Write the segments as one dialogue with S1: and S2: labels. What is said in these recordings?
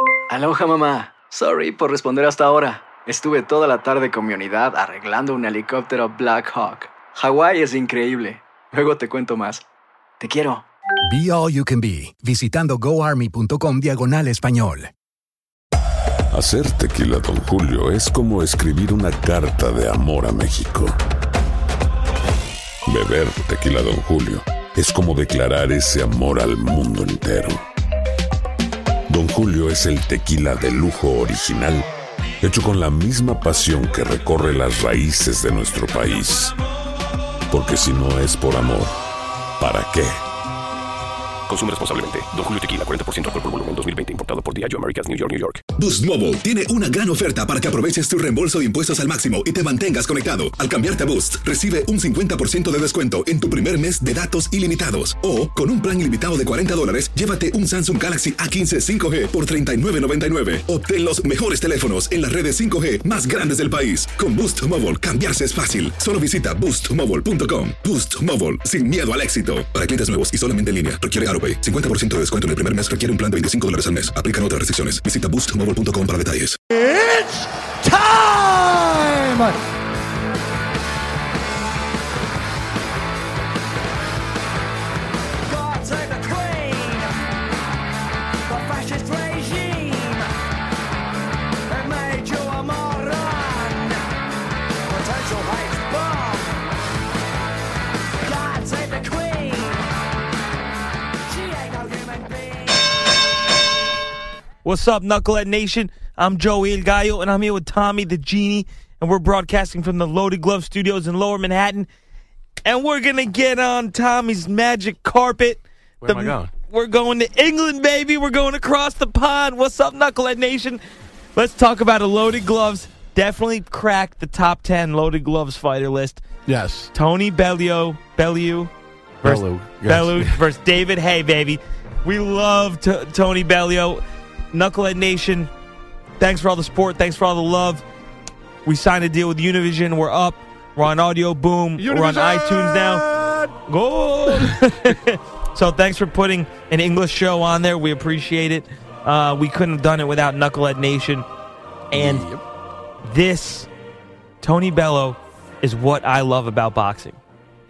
S1: Aloha mamá. Sorry por responder hasta ahora. Estuve toda la tarde con mi unidad arreglando un helicóptero Black Hawk. Hawái es increíble. Luego te cuento más. Te quiero.
S2: Be All You Can Be, visitando goarmy.com diagonal español.
S3: Hacer tequila, Don Julio, es como escribir una carta de amor a México. Beber tequila, Don Julio, es como declarar ese amor al mundo entero. Don Julio es el tequila de lujo original, hecho con la misma pasión que recorre las raíces de nuestro país. Porque si no es por amor, ¿para qué?
S4: Consume responsablemente. Don Julio Tequila, 40% alcohol por volumen, 2020. Importado por Diageo Americas, New York, New York.
S5: Boost Mobile tiene una gran oferta para que aproveches tu reembolso de impuestos al máximo y te mantengas conectado. Al cambiarte a Boost, recibe un 50% de descuento en tu primer mes de datos ilimitados. O, con un plan ilimitado de 40 dólares, llévate un Samsung Galaxy A15 5G por $39.99. Obtén los mejores teléfonos en las redes 5G más grandes del país. Con Boost Mobile, cambiarse es fácil. Solo visita boostmobile.com. Boost Mobile, sin miedo al éxito. Para clientes nuevos y solamente en línea, requiere AroPay. 50% de descuento en el primer mes requiere un plan de 25 dólares al mes. Aplican otras restricciones. Visita boostmobile.com para detalles.
S6: It's time!
S7: What's up, Knucklehead Nation? I'm Joey El Gallo, and I'm here with Tommy the Genie, and we're broadcasting from the Loaded Glove Studios in Lower Manhattan. And we're gonna get on Tommy's magic carpet. Where
S8: am I going?
S7: We're going to England, baby. We're going across the pond. What's up, Knucklehead Nation? Let's talk about a Loaded Gloves. Definitely cracked the top ten Loaded Gloves fighter list.
S8: Yes.
S7: Tony Bellio, Bellew versus,
S8: Bellew, yes.
S7: Bellew versus David Hay, baby. We love t- Tony Bellio. Knucklehead Nation, thanks for all the support. Thanks for all the love. We signed a deal with Univision. We're up. We're on Audio Boom. We're on iTunes now. Go! so thanks for putting an English show on there. We appreciate it. Uh, we couldn't have done it without Knucklehead Nation. And this, Tony Bello, is what I love about boxing.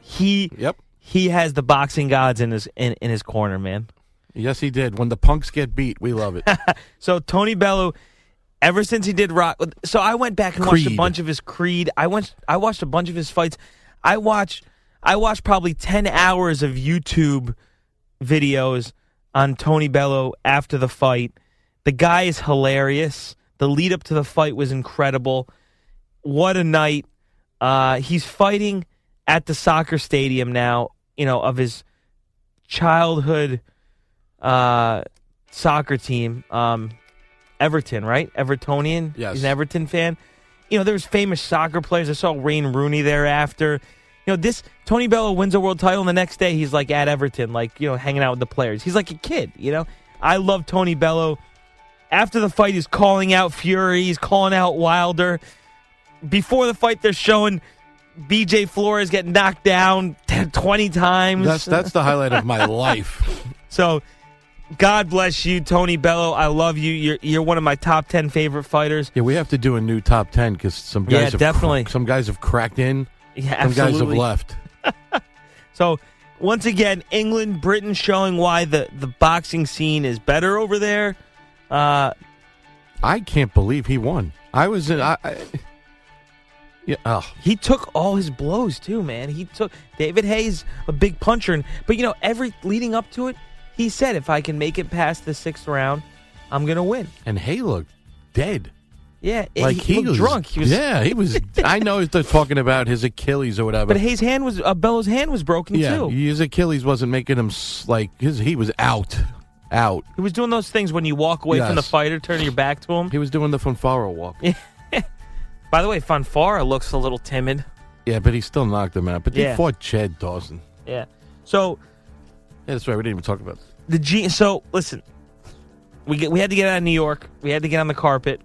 S7: He
S8: Yep.
S7: he has the boxing gods in his in, in his corner, man.
S8: Yes, he did. When the punks get beat, we love it.
S7: So Tony Bellew, ever since he did Rock, so I went back and watched a
S8: Creed.
S7: bunch of his Creed. I went, I watched a bunch of his fights. I watched, I watched probably ten hours of YouTube videos on Tony Bellew after the fight. The guy is hilarious. The lead up to the fight was incredible. What a night! Uh, he's fighting at the soccer stadium now. You know of his childhood uh, soccer team, um, Everton, right? Evertonian.
S8: Yes.
S7: He's an Everton fan. You know, there was famous soccer players. I saw Wayne Rooney thereafter. You know, this Tony Bello wins a world title, and the next day he's like at Everton, like you know, hanging out with the players. He's like a kid. You know, I love Tony Bello. After the fight, he's calling out Fury. He's calling out Wilder. Before the fight, they're showing BJ Flores getting knocked down 20 times.
S8: That's that's the highlight of my life.
S7: So, God bless you, Tony Bello. I love you. You're you're one of my top ten favorite fighters.
S8: Yeah, we have to do a new top ten because some guys
S7: Yeah,
S8: have
S7: definitely.
S8: some guys have cracked in,
S7: Yeah,
S8: some guys have
S7: absolutely.
S8: left.
S7: So, once again, England, Britain showing why the the boxing scene is better over there. Uh,
S8: I can't believe he won. I was in. I, I, yeah. Oh,
S7: he took all his blows too, man. He took David Hayes, a big puncher, and but you know, every leading up to it, he said, "If I can make it past the sixth round, I'm gonna win."
S8: and Hay looked dead.
S7: Yeah, it-
S8: Like
S7: he,
S8: he,
S7: looked
S8: was
S7: drunk. He was,
S8: Yeah, he was. I know they're talking about his Achilles or whatever.
S7: but Hayes' hand was uh, Bello's hand was broken
S8: yeah,
S7: too.
S8: his Achilles wasn't making him s- like his. He was out. out.
S7: He was doing those things when you walk away from the
S8: Yes.
S7: fighter, turn your back to him.
S8: He was doing the Fonfara walk.
S7: By the way, Fanfara looks a little timid.
S8: Yeah, but he still knocked him out. But
S7: Yeah.
S8: he fought Chad Dawson.
S7: Yeah. So
S8: Yeah, that's right. We didn't even talk about it.
S7: the G. So listen, we get, we had to get out of New York. We had to get on the carpet,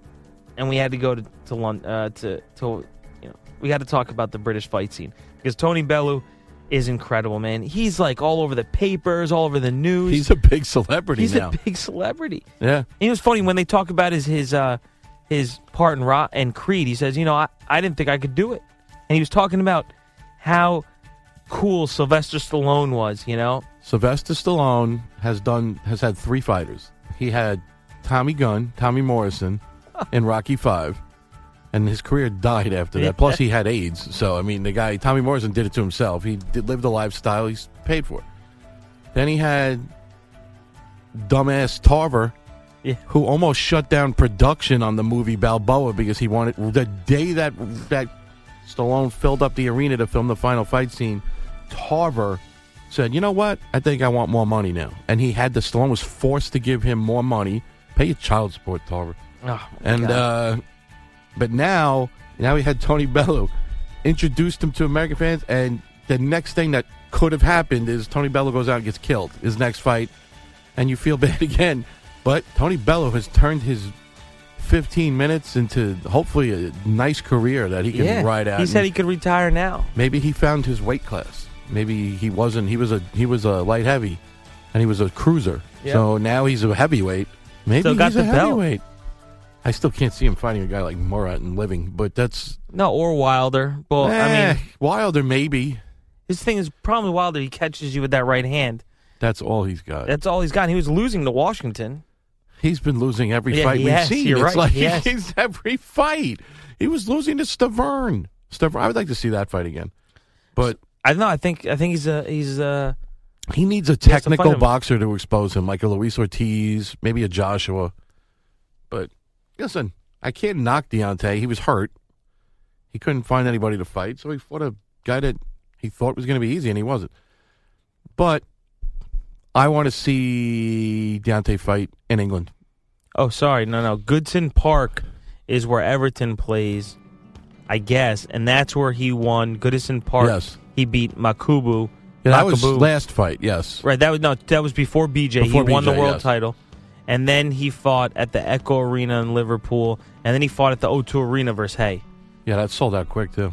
S7: and we had to go to to London uh, to to you know we got to talk about the British fight scene because Tony Bellew is incredible, man. He's like all over the papers, all over the news.
S8: He's a big celebrity
S7: He's
S8: now.
S7: a big celebrity.
S8: yeah.
S7: It was funny when they talk about his his uh, his part in Ra and Creed. He says, "You know, I, I didn't think I could do it," and he was talking about how cool Sylvester Stallone was. You know,
S8: Sylvester Stallone has done has had three fighters. He had Tommy Gunn, Tommy Morrison, and Rocky Five, and his career died after that. Plus, he had AIDS. So I mean, the guy Tommy Morrison did it to himself. He did, lived a lifestyle. He's paid for it. Then he had dumbass Tarver.
S7: Yeah.
S8: Who almost shut down production on the movie Balboa because he wanted the day that that Stallone filled up the arena to film the final fight scene. Tarver said, "You know what? I think I want more money now." And he had the Stallone was forced to give him more money. Pay your child support, Tarver.
S7: oh,
S8: And uh, but now, now we had Tony Bellew introduced him to American fans, and the next thing that could have happened is Tony Bellew goes out and gets killed. His next fight, and you feel bad again. But Tony Bellew has turned his 15 minutes into hopefully a nice career that he can
S7: yeah,
S8: ride out.
S7: he said
S8: and-
S7: he could retire now.
S8: Maybe he found his weight class. Maybe he wasn't. He was a he was a light heavy, and he was a cruiser.
S7: Yeah.
S8: So now he's a heavyweight. Maybe
S7: Still got
S8: he's
S7: the
S8: a
S7: belt.
S8: heavyweight. I still can't see him fighting a guy like Murat and living, but that's
S7: No, or Wilder. Well, I
S8: Eh,
S7: mean,
S8: Wilder. Maybe
S7: his thing is problem with Wilder. He catches you with that right hand.
S8: that's all he's got.
S7: That's all he's got. And he was losing to Washington.
S8: he's been losing every
S7: Yeah,
S8: fight
S7: he
S8: we've
S7: has.
S8: seen.
S7: You're right,
S8: it's like
S7: he has.
S8: he's every fight. He was losing to Stavern. Stavern. I would like to see that fight again, but
S7: I don't know. I think I think he's a he's a
S8: He needs a
S7: He has to fight
S8: technical
S7: him.
S8: boxer to expose him, like a Luis Ortiz, maybe a Joshua. But listen, I can't knock Deontay. He was hurt. He couldn't find anybody to fight, so he fought a guy that he thought was going to be easy, and he wasn't. But I want to see Deontay fight in England.
S7: oh sorry no no Goodson Park is where Everton plays, I guess, and that's where he won Goodison Park.
S8: Yes.
S7: he beat Makubu.
S8: Yeah, that was
S7: Makabu.
S8: last fight, yes.
S7: right. That was no that was before BJ.
S8: Before
S7: he won the
S8: BJ,
S7: world
S8: yes.
S7: title. And then he fought at the Echo Arena in Liverpool, and then he fought at the O2 Arena versus Hay.
S8: Yeah, that sold out quick too.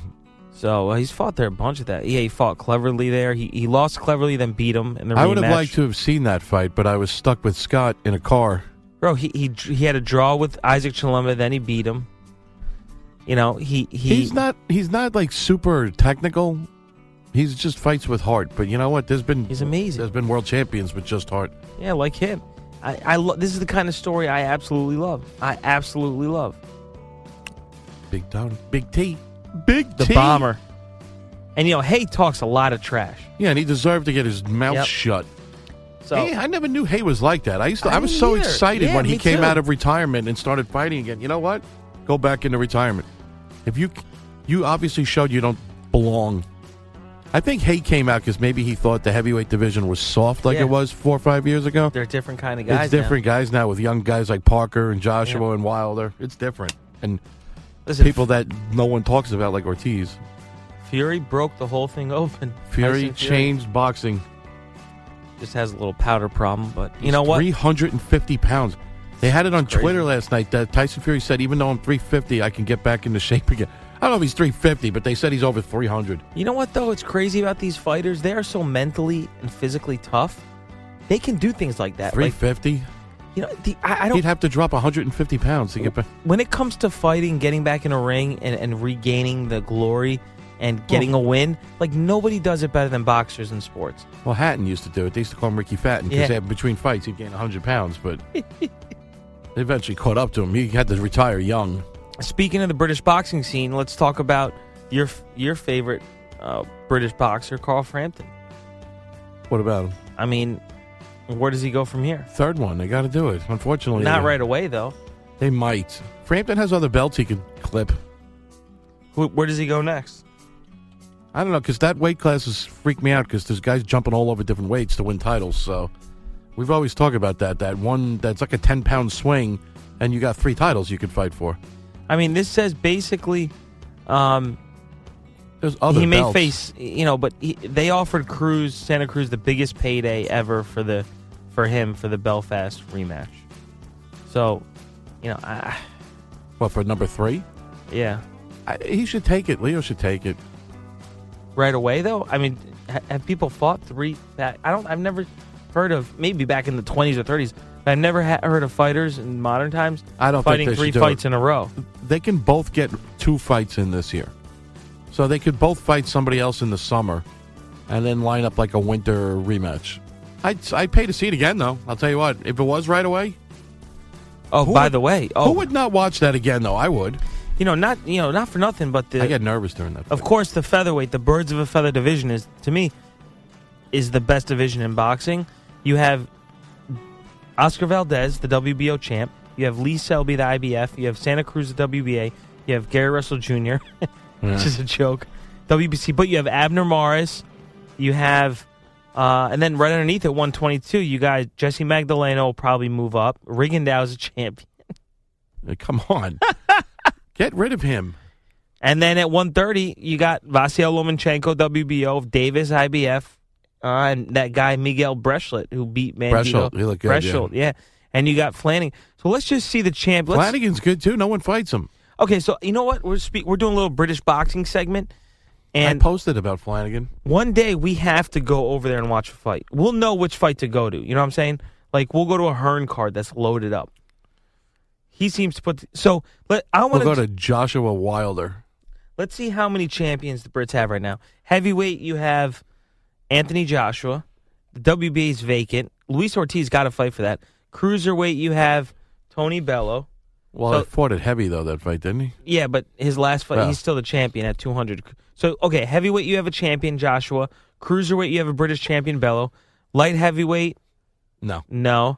S7: So uh, he's fought there a bunch of that. Yeah, he fought cleverly there. He he lost cleverly, then beat him in the
S8: I would have
S7: rematch.
S8: liked to have seen that fight, but I was stuck with Scott in a car.
S7: Bro, he he dr- he had a draw with Isaac Chalumba, then he beat him. You know, he he
S8: he's not he's not like super technical. He's just fights with heart. But you know what? There's been
S7: He's amazing.
S8: There's been world champions with just heart.
S7: yeah like him. I I lo- this is the kind of story I absolutely love. I absolutely love
S8: Big Tony, Big T, Big
S7: the
S8: T.
S7: bomber. And you know, Hay talks a lot of trash.
S8: Yeah, and he deserved to get his mouth
S7: Yep.
S8: shut.
S7: So
S8: hey, I never knew Hay was like that. I used to.
S7: I
S8: I, was
S7: didn't
S8: so
S7: either.
S8: excited
S7: Yeah,
S8: when he
S7: me
S8: came
S7: too.
S8: out of retirement and started fighting again. You know what? Go back into retirement. If you you obviously showed you don't belong. I think Hay came out because maybe he thought the heavyweight division was soft like
S7: Yeah.
S8: it was four or five years ago.
S7: they're different kind of guys.
S8: it's
S7: now.
S8: different guys now with young guys like Parker and Joshua
S7: Yeah.
S8: and Wilder. It's different. And
S7: Listen,
S8: people that no one talks about like Ortiz.
S7: Fury broke the whole thing open.
S8: Fury
S7: Tyson
S8: changed boxing.
S7: just has a little powder problem, but you know what?
S8: 350 pounds. They had it on
S7: crazy.
S8: Twitter last night that Tyson Fury said, even though I'm 350, I can get back into shape again. I don't know if he's 350, but they said he's over 300.
S7: You know what though? It's crazy about these fighters. They are so mentally and physically tough. They can do things like that. Like
S8: 350?
S7: you know, the, I, I
S8: He'd
S7: don't.
S8: have to drop 150 pounds to get back.
S7: When it comes to fighting, getting back in a ring and, and regaining the glory and getting a win, like nobody does it better than boxers in sports.
S8: Well, Hatton used to do it. They used to call him Ricky Fatton because
S7: Yeah.
S8: between fights he'd gain 100 pounds, but they eventually caught up to him. He had to retire young.
S7: Speaking of the British boxing scene, let's talk about your your favorite uh, British boxer, Carl Frampton.
S8: What about him?
S7: I mean, where does he go from here?
S8: Third one, they got to do it. Unfortunately,
S7: Not
S8: they,
S7: right away though.
S8: They might. Frampton has other belts he could clip.
S7: Who, where does he go next?
S8: I don't know because that weight class has freaked me out because there's guys jumping all over different weights to win titles. So We've always talked about that. That one that's like a ten pound swing, and you got three titles you could fight for.
S7: I mean, this says basically um,
S8: There's other.
S7: he may
S8: belts.
S7: face you know, but he, they offered Cruz Santa Cruz the biggest payday ever for the for him for the Belfast rematch. So, you know, I,
S8: what for number three.
S7: yeah,
S8: I, he should take it. Leo should take it.
S7: right away though. I mean, ha- have people fought three? That I don't. I've never heard of maybe back in the twenties or thirties. I've never ha- heard of fighters in modern times
S8: I don't think
S7: fighting
S8: they should
S7: three
S8: do
S7: fights
S8: it.
S7: in a row.
S8: They can both get two fights in this year, so they could both fight somebody else in the summer, and then line up like a winter rematch. I'd I'd pay to see it again though. I'll tell you what. If it was right away,
S7: Oh,
S8: Who
S7: by
S8: would-
S7: the way, oh,
S8: who would not watch that again though? I would.
S7: you know, not you know, not for nothing, but the
S8: I get nervous during that.
S7: Of course, the featherweight, the birds of a feather division is to me is the best division in boxing. You have Oscar Valdez, the WBO champ. You have Lee Selby, the IBF. You have Santa Cruz, the WBA. You have Gary Russell Jr., which is a joke. WBC, but you have Abner Morris. You have, uh, and then right underneath at 122, you guys Jesse Magdaleno will probably move up. Rigondeaux is a champion.
S8: Uh, Come on. Get rid of him.
S7: And then at 1.30, you got Vasyl Lomachenko, WBO, Davis, IBF, uh, and that guy Miguel Breschlet, who beat Man.
S8: Breschelt, he looked good, yeah.
S7: Breschelt, yeah. And you got Flanagan. So let's just see the champ. Let's-
S8: Flanagan's good too. No one fights him.
S7: Okay, so you know what? We're speak- we're doing a little British boxing segment.
S8: I
S7: And
S8: posted about Flanagan.
S7: one day we have to go over there and watch a fight. We'll know which fight to go to. You know what I'm saying? Like, we'll go to a Hearn card that's loaded up. He seems to put. So let, I
S8: We'll
S7: want
S8: go to Joshua Wilder.
S7: Let's see how many champions the Brits have right now. Heavyweight, you have Anthony Joshua. The WBA is vacant. Luis Ortiz got to fight for that. Cruiserweight, you have Tony Bello.
S8: Well,
S7: So-
S8: he fought it heavy though that fight, didn't he?
S7: Yeah, but his last fight,
S8: Yeah.
S7: he's still the champion at 200. So, okay, heavyweight, you have a champion, Joshua. Cruiserweight, you have a British champion, Bello. Light heavyweight,
S8: No.
S7: no.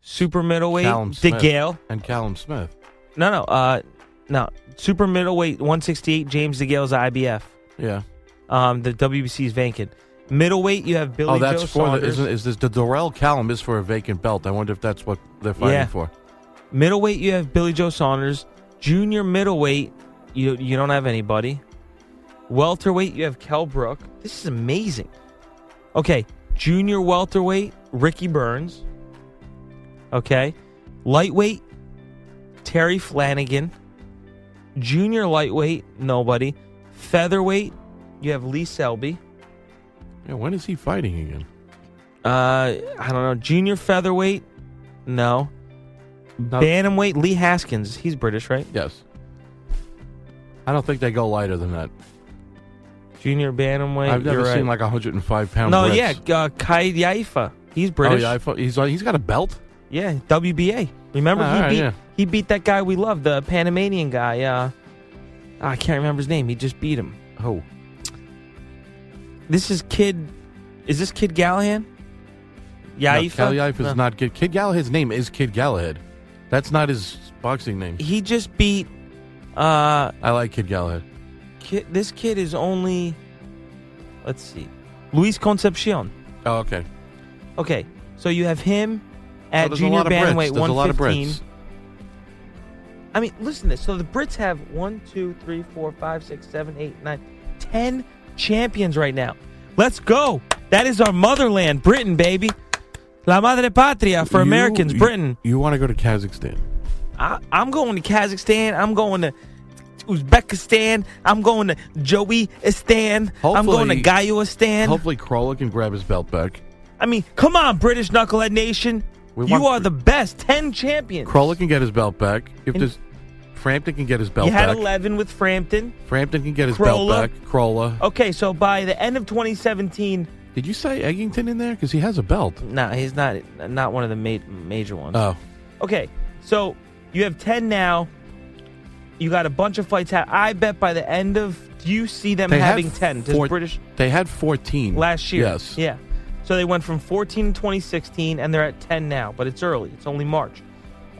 S7: Super middleweight,
S8: Callum Smith
S7: DeGale.
S8: and Callum Smith.
S7: No, no, uh, no. Super middleweight, 168, James DeGale's IBF.
S8: Yeah.
S7: Um, the WBC is vacant. Middleweight, you have Billy.
S8: oh, that's
S7: Joe
S8: for the
S7: Saunders.
S8: isn't is this the Dorel Callum is for a vacant belt. I wonder if that's what they're fighting
S7: Yeah.
S8: for.
S7: Middleweight, you have Billy Joe Saunders. Junior middleweight, you you don't have anybody. Welterweight, you have Kel Brook. This is amazing. Okay, junior welterweight, Ricky Burns. Okay, lightweight, Terry Flanagan. Junior lightweight, nobody. Featherweight, you have Lee Selby.
S8: Yeah, when is he fighting again?
S7: Uh, I don't know. Junior featherweight? No. Bantamweight? Lee Haskins. He's British, right?
S8: Yes. I don't think they go lighter than that.
S7: Junior bantamweight.
S8: I've never
S7: you're
S8: seen
S7: right.
S8: like a hundred and five pound.
S7: No,
S8: Brits.
S7: yeah. Uh, Kai Yaifa. He's
S8: Oh,
S7: British.
S8: yeah. I fought- he's he's got a belt.
S7: yeah. WBA. Remember
S8: Ah,
S7: he
S8: all right,
S7: beat
S8: yeah.
S7: he beat that guy we love, the Panamanian guy. Uh, I can't remember his name. He just beat him.
S8: Oh,
S7: This is kid. Is this kid Gallahan?
S8: No,
S7: Yaifa.
S8: Cal Yaifa is
S7: No.
S8: not Kid. Kid Galahad's name is Kid Galahad. That's not his boxing name.
S7: He just beat. Uh,
S8: I like Kid Galahad.
S7: kid, this kid is only let's see luis concepcion
S8: Oh, okay.
S7: okay so you have him
S8: So
S7: at
S8: there's a
S7: junior
S8: lot of Brits.
S7: bantamweight
S8: There's a lot of
S7: 115
S8: Brits.
S7: i mean listen to this so the brits have one, two, three, four, five, six, seven, eight, nine, ten champions right now let's go that is our motherland britain baby la madre patria for
S8: You-
S7: americans
S8: you-
S7: britain
S8: You, want to go to Kazakhstan?
S7: I, I'm going to Kazakhstan. I'm going to Uzbekistan. I'm going to Joeyistan. I'm going to
S8: Hopefully-
S7: Guyuistan.
S8: Hopefully, Crawler can grab his belt back.
S7: I mean, come on, British Knucklehead Nation.
S8: We
S7: you
S8: want-
S7: are the best. 10 champions.
S8: Crawler can get his belt back. If
S7: And-
S8: there's Frampton can get his belt
S7: you had
S8: back.
S7: 11 with Frampton.
S8: Frampton can get his
S7: Crawler. Oh.
S8: belt back. Crawler.
S7: Okay, so by the end of 2017,
S8: Did you say Eggington in there? Because he has a belt.
S7: nah, he's not not one of the ma- major ones.
S8: Oh,
S7: Okay, so you have 10 now. You got a bunch of fights. Ha- I bet by the end of, do you see them
S8: they had
S7: having 10? Does
S8: four-
S7: British
S8: They had fourteen
S7: last year?
S8: Yes.
S7: Yeah. So they went from 14 in 2016, and they're at 10 now. But it's early. It's only March.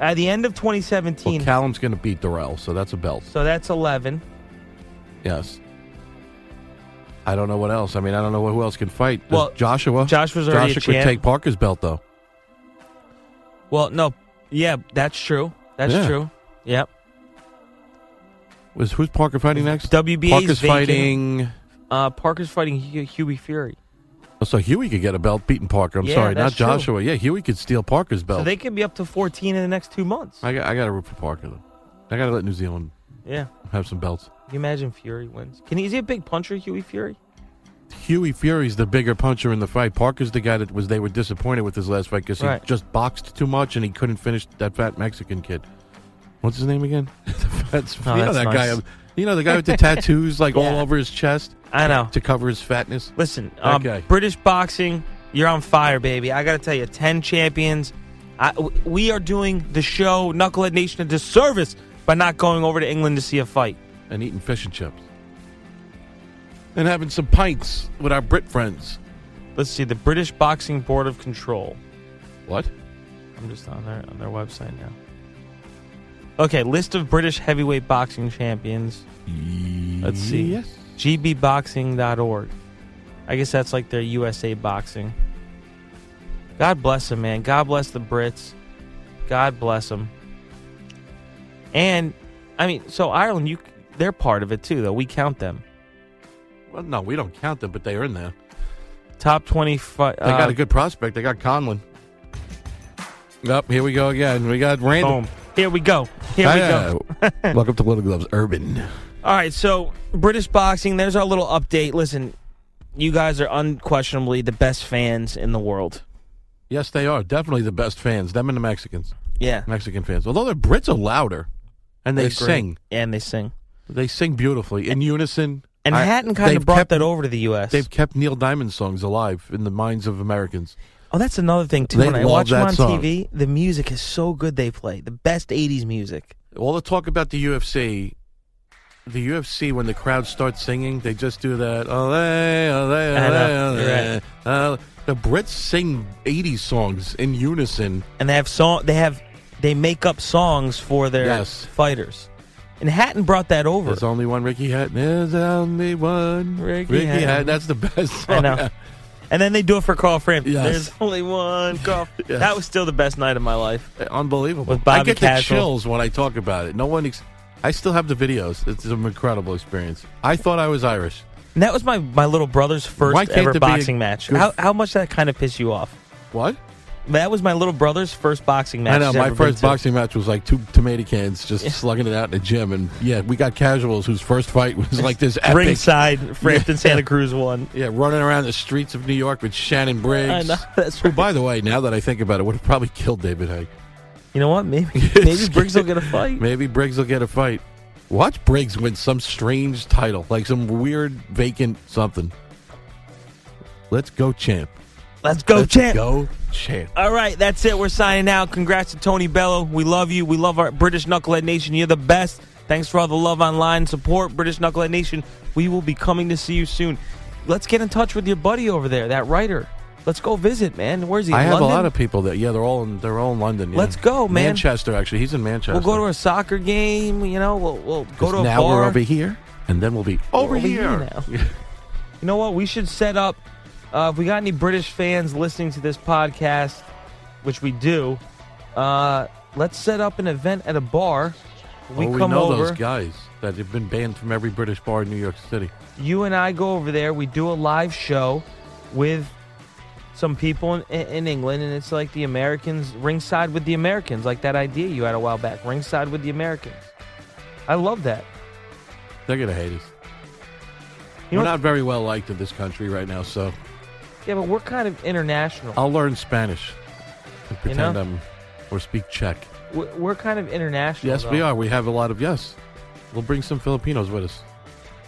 S7: At the end of
S8: Well,
S7: 2017,
S8: Callum's going to beat Durrell, so that's a belt.
S7: so that's 11.
S8: Yes. I don't know what else. I mean, I don't know who else can fight. Does
S7: Well,
S8: Joshua.
S7: Joshua's already a
S8: Joshua could
S7: champ.
S8: take Parker's belt though.
S7: Well, no, yeah, that's true. That's
S8: Yeah.
S7: true. Yep.
S8: Was who's Parker fighting next?
S7: WBA 's
S8: Parker's
S7: vacant.
S8: fighting.
S7: Uh, Parker's fighting Hu- Huey Fury,
S8: Oh, so Huey could get a belt beating Parker. I'm
S7: Yeah,
S8: sorry, not
S7: that's true.
S8: Joshua. Yeah, Huey could steal Parker's belt.
S7: so they could be up to fourteen in the next two months.
S8: I got, I got to root for Parker though. I got to let New Zealand
S7: yeah.
S8: have some belts.
S7: Can you imagine Fury wins? Can he, is he a big puncher, Huey Fury?
S8: Huey Fury's the bigger puncher in the fight. Parker's the guy that was they were disappointed with his last fight because he
S7: Right.
S8: just boxed too much and he couldn't finish that fat Mexican kid. What's his name again? that's,
S7: Oh,
S8: you know
S7: that's
S8: that
S7: nice.
S8: guy. You know the guy with the tattoos like all
S7: Yeah.
S8: over his chest
S7: I know.
S8: to cover his fatness.
S7: Listen, um,
S8: Okay.
S7: British boxing, you're on fire, baby. I got to tell you, 10 champions. I w we are doing the show Knucklehead Nation a disservice by not going over to England to see a fight.
S8: and eating fish and chips and having some pints with our Brit friends.
S7: Let's see, the British Boxing Board of Control.
S8: What?
S7: I'm just on their on their website now. Okay, list of British heavyweight boxing champions.
S8: Let's
S7: see. GBBoxing.org. I guess that's like their USA boxing. God bless them, man. God bless the Brits. God bless them. And I mean, so Ireland, you they're part of it too, though. We count them.
S8: Well, no, we don't count them, but they are in there.
S7: Top twenty uh, five.
S8: They got a good prospect. They got Conlon. Yep, here we go again. We got random.
S7: boom. Here we go. Here we go.
S8: go. Welcome to Little Gloves Urban.
S7: All right, so British boxing, there's our little update. Listen, you guys are unquestionably the best fans in the world.
S8: Yes, they are definitely the best fans. Them and the Mexicans,
S7: Yeah.
S8: Mexican fans. Although the Brits are louder, and they
S7: They're great.
S8: sing.
S7: And they sing.
S8: They sing beautifully in unison.
S7: And
S8: I-
S7: Hatton kind
S8: they've
S7: of brought
S8: kept-
S7: that over to the U.S.
S8: They've kept Neil Diamond songs alive in the minds of Americans.
S7: Oh, that's another thing too.
S8: They
S7: when I
S8: love
S7: watch them
S8: that
S7: on
S8: song.
S7: TV, the music is so good. They play the best '80s music.
S8: all the talk about the UFC, the UFC when the crowd starts singing, they just do that. Ole, ole,
S7: I know,
S8: ole,
S7: you're right.
S8: ole. Uh, the Brits sing 80 songs in unison.
S7: And they have song. They have they make up songs for their
S8: Yes.
S7: fighters. And Hatton brought that over.
S8: There's only one Ricky Hatton. There's only one
S7: Ricky
S8: Ricky,
S7: Hatton.
S8: Hatton. That's the best
S7: I
S8: song.
S7: know. And then they do it for Carl Frampton.
S8: Yes.
S7: There's only one Carl.
S8: Yes.
S7: That was still the best night of my life.
S8: Unbelievable.
S7: With Bobby
S8: I get the
S7: Cashel.
S8: chills when I talk about it. No one. Ex- I still have the videos. It's an incredible experience. I thought I was Irish.
S7: And that was my, my little brother's
S8: Why
S7: first
S8: can't
S7: ever
S8: there be a
S7: boxing match.
S8: good-
S7: How how much that kind of pissed you off?
S8: What?
S7: That was my little brother's first boxing match.
S8: I know
S7: he's
S8: my
S7: ever been
S8: first
S7: to.
S8: boxing match was like two tomato cans just
S7: Yeah.
S8: slugging it out in the gym, and yeah, we got casuals whose first fight was like this epic,
S7: Ringside, Frampton Santa Cruz won.
S8: yeah, running around the streets of New York with Shannon Briggs.
S7: I know. That's
S8: Who,
S7: right.
S8: by the way, now that I think about it, would have probably killed David Haig.
S7: You know what? Maybe maybe Briggs will get a fight.
S8: Maybe Briggs will get a fight. Watch Briggs win some strange title, like some weird vacant something. Let's go, champ.
S7: Let's go,
S8: Let's
S7: champ. Uh,
S8: Go, champ.
S7: All right, that's it. We're signing out. Congrats to Tony Bello. We love you. We love our British Knucklehead Nation. You're the best. Thanks for all the love online support, British Knucklehead Nation. We will be coming to see you soon. Let's get in touch with your buddy over there, that writer. Let's go visit, man. Where's he?
S8: I have
S7: London?
S8: a lot of people that yeah, they're all in they're all in London. yeah.
S7: Let's go, man.
S8: Manchester actually, he's in Manchester.
S7: We'll go to a soccer game. You know, we'll, we'll go to a
S8: now
S7: bar. Oh,
S8: we're over here, and then we'll be over,
S7: We're
S8: here.
S7: now. you know what? We should set up. Uh, if we got any British fans listening to this podcast, which we do, uh, let's set up an event at a bar. We
S8: oh, we
S7: come
S8: know
S7: over.
S8: those guys that have been banned from every British bar in New York City.
S7: You and I go over there. We do a live show with some people in, in in England, and it's like the Americans ringside with the Americans, like that idea you had a while back, ringside with the Americans. I love that.
S8: They're gonna hate us.
S7: You
S8: We're
S7: know,
S8: not very well liked in this country right now, so
S7: yeah, but we're kind of international.
S8: I'll learn Spanish and
S7: You know?
S8: pretend I'm or speak Czech.
S7: We're, we're kind of international.
S8: Yes, we
S7: though.
S8: are. We have a lot of yes. We'll bring some Filipinos with us.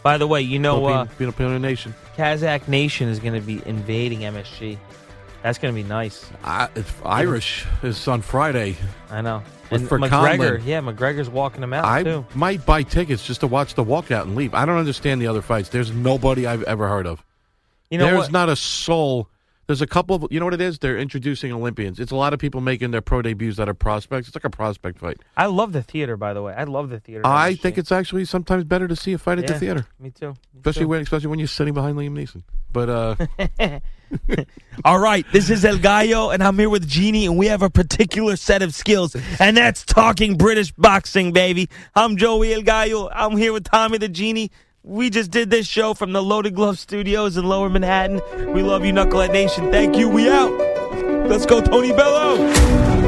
S7: By the way, you know, uh,
S8: Filipino, Filipino nation.
S7: Kazakh Nation is going to be invading MSG. That's going to be nice.
S8: I, it's Irish is on Friday.
S7: I know.
S8: With-
S7: And
S8: for
S7: McGregor,
S8: Conlon.
S7: yeah, McGregor's walking him out
S8: I
S7: too.
S8: might buy tickets just to watch the walkout and leave. I don't understand the other fights. There's nobody I've ever heard of.
S7: You know
S8: there's
S7: what?
S8: not a soul. There's a couple of you know what it is. They're introducing Olympians. It's a lot of people making their pro debuts that are prospects. It's like a prospect fight.
S7: I love the theater, by the way. I love the theater.
S8: I
S7: MSG.
S8: think it's actually sometimes better to see a fight at the
S7: Oh, Yeah,
S8: theater,
S7: Me too. Me
S8: especially
S7: too.
S8: when especially when you're sitting behind Liam Neeson. But uh,
S7: All right, this is El Gallo, and I'm here with Jeannie, and we have a particular set of skills, and that's talking British boxing, baby. I'm Joey El Gallo. I'm here with Tommy the Genie. We just did this show from the Loaded Glove Studios in Lower Manhattan. We love you, Knucklehead Nation. Thank you. We out. Let's go, Tony Bello.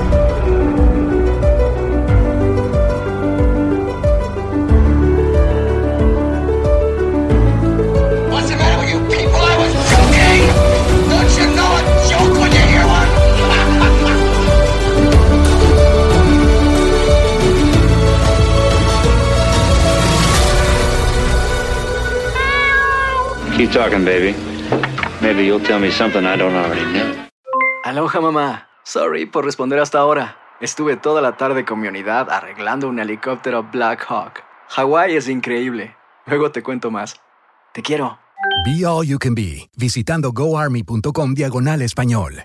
S5: What's the matter with you people? I was joking! Don't you know a joke when you hear one?
S9: Keep talking, baby. Maybe you'll tell me something I don't already know.
S1: Aloha mamá. Sorry por responder hasta ahora. Estuve toda la tarde con mi unidad arreglando un helicóptero Black Hawk. Hawái es increíble. Luego te cuento más. Te quiero.
S2: Be All You Can Be, visitando goarmy.com diagonal español.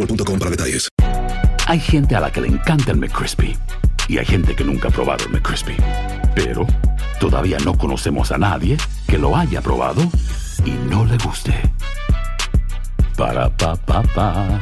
S3: para detalles.
S4: Hay gente a la que le encanta el McCrispy y hay gente que nunca ha probado el McCrispy. Pero todavía no conocemos a nadie que lo haya probado y no le guste. Para pa pa pa.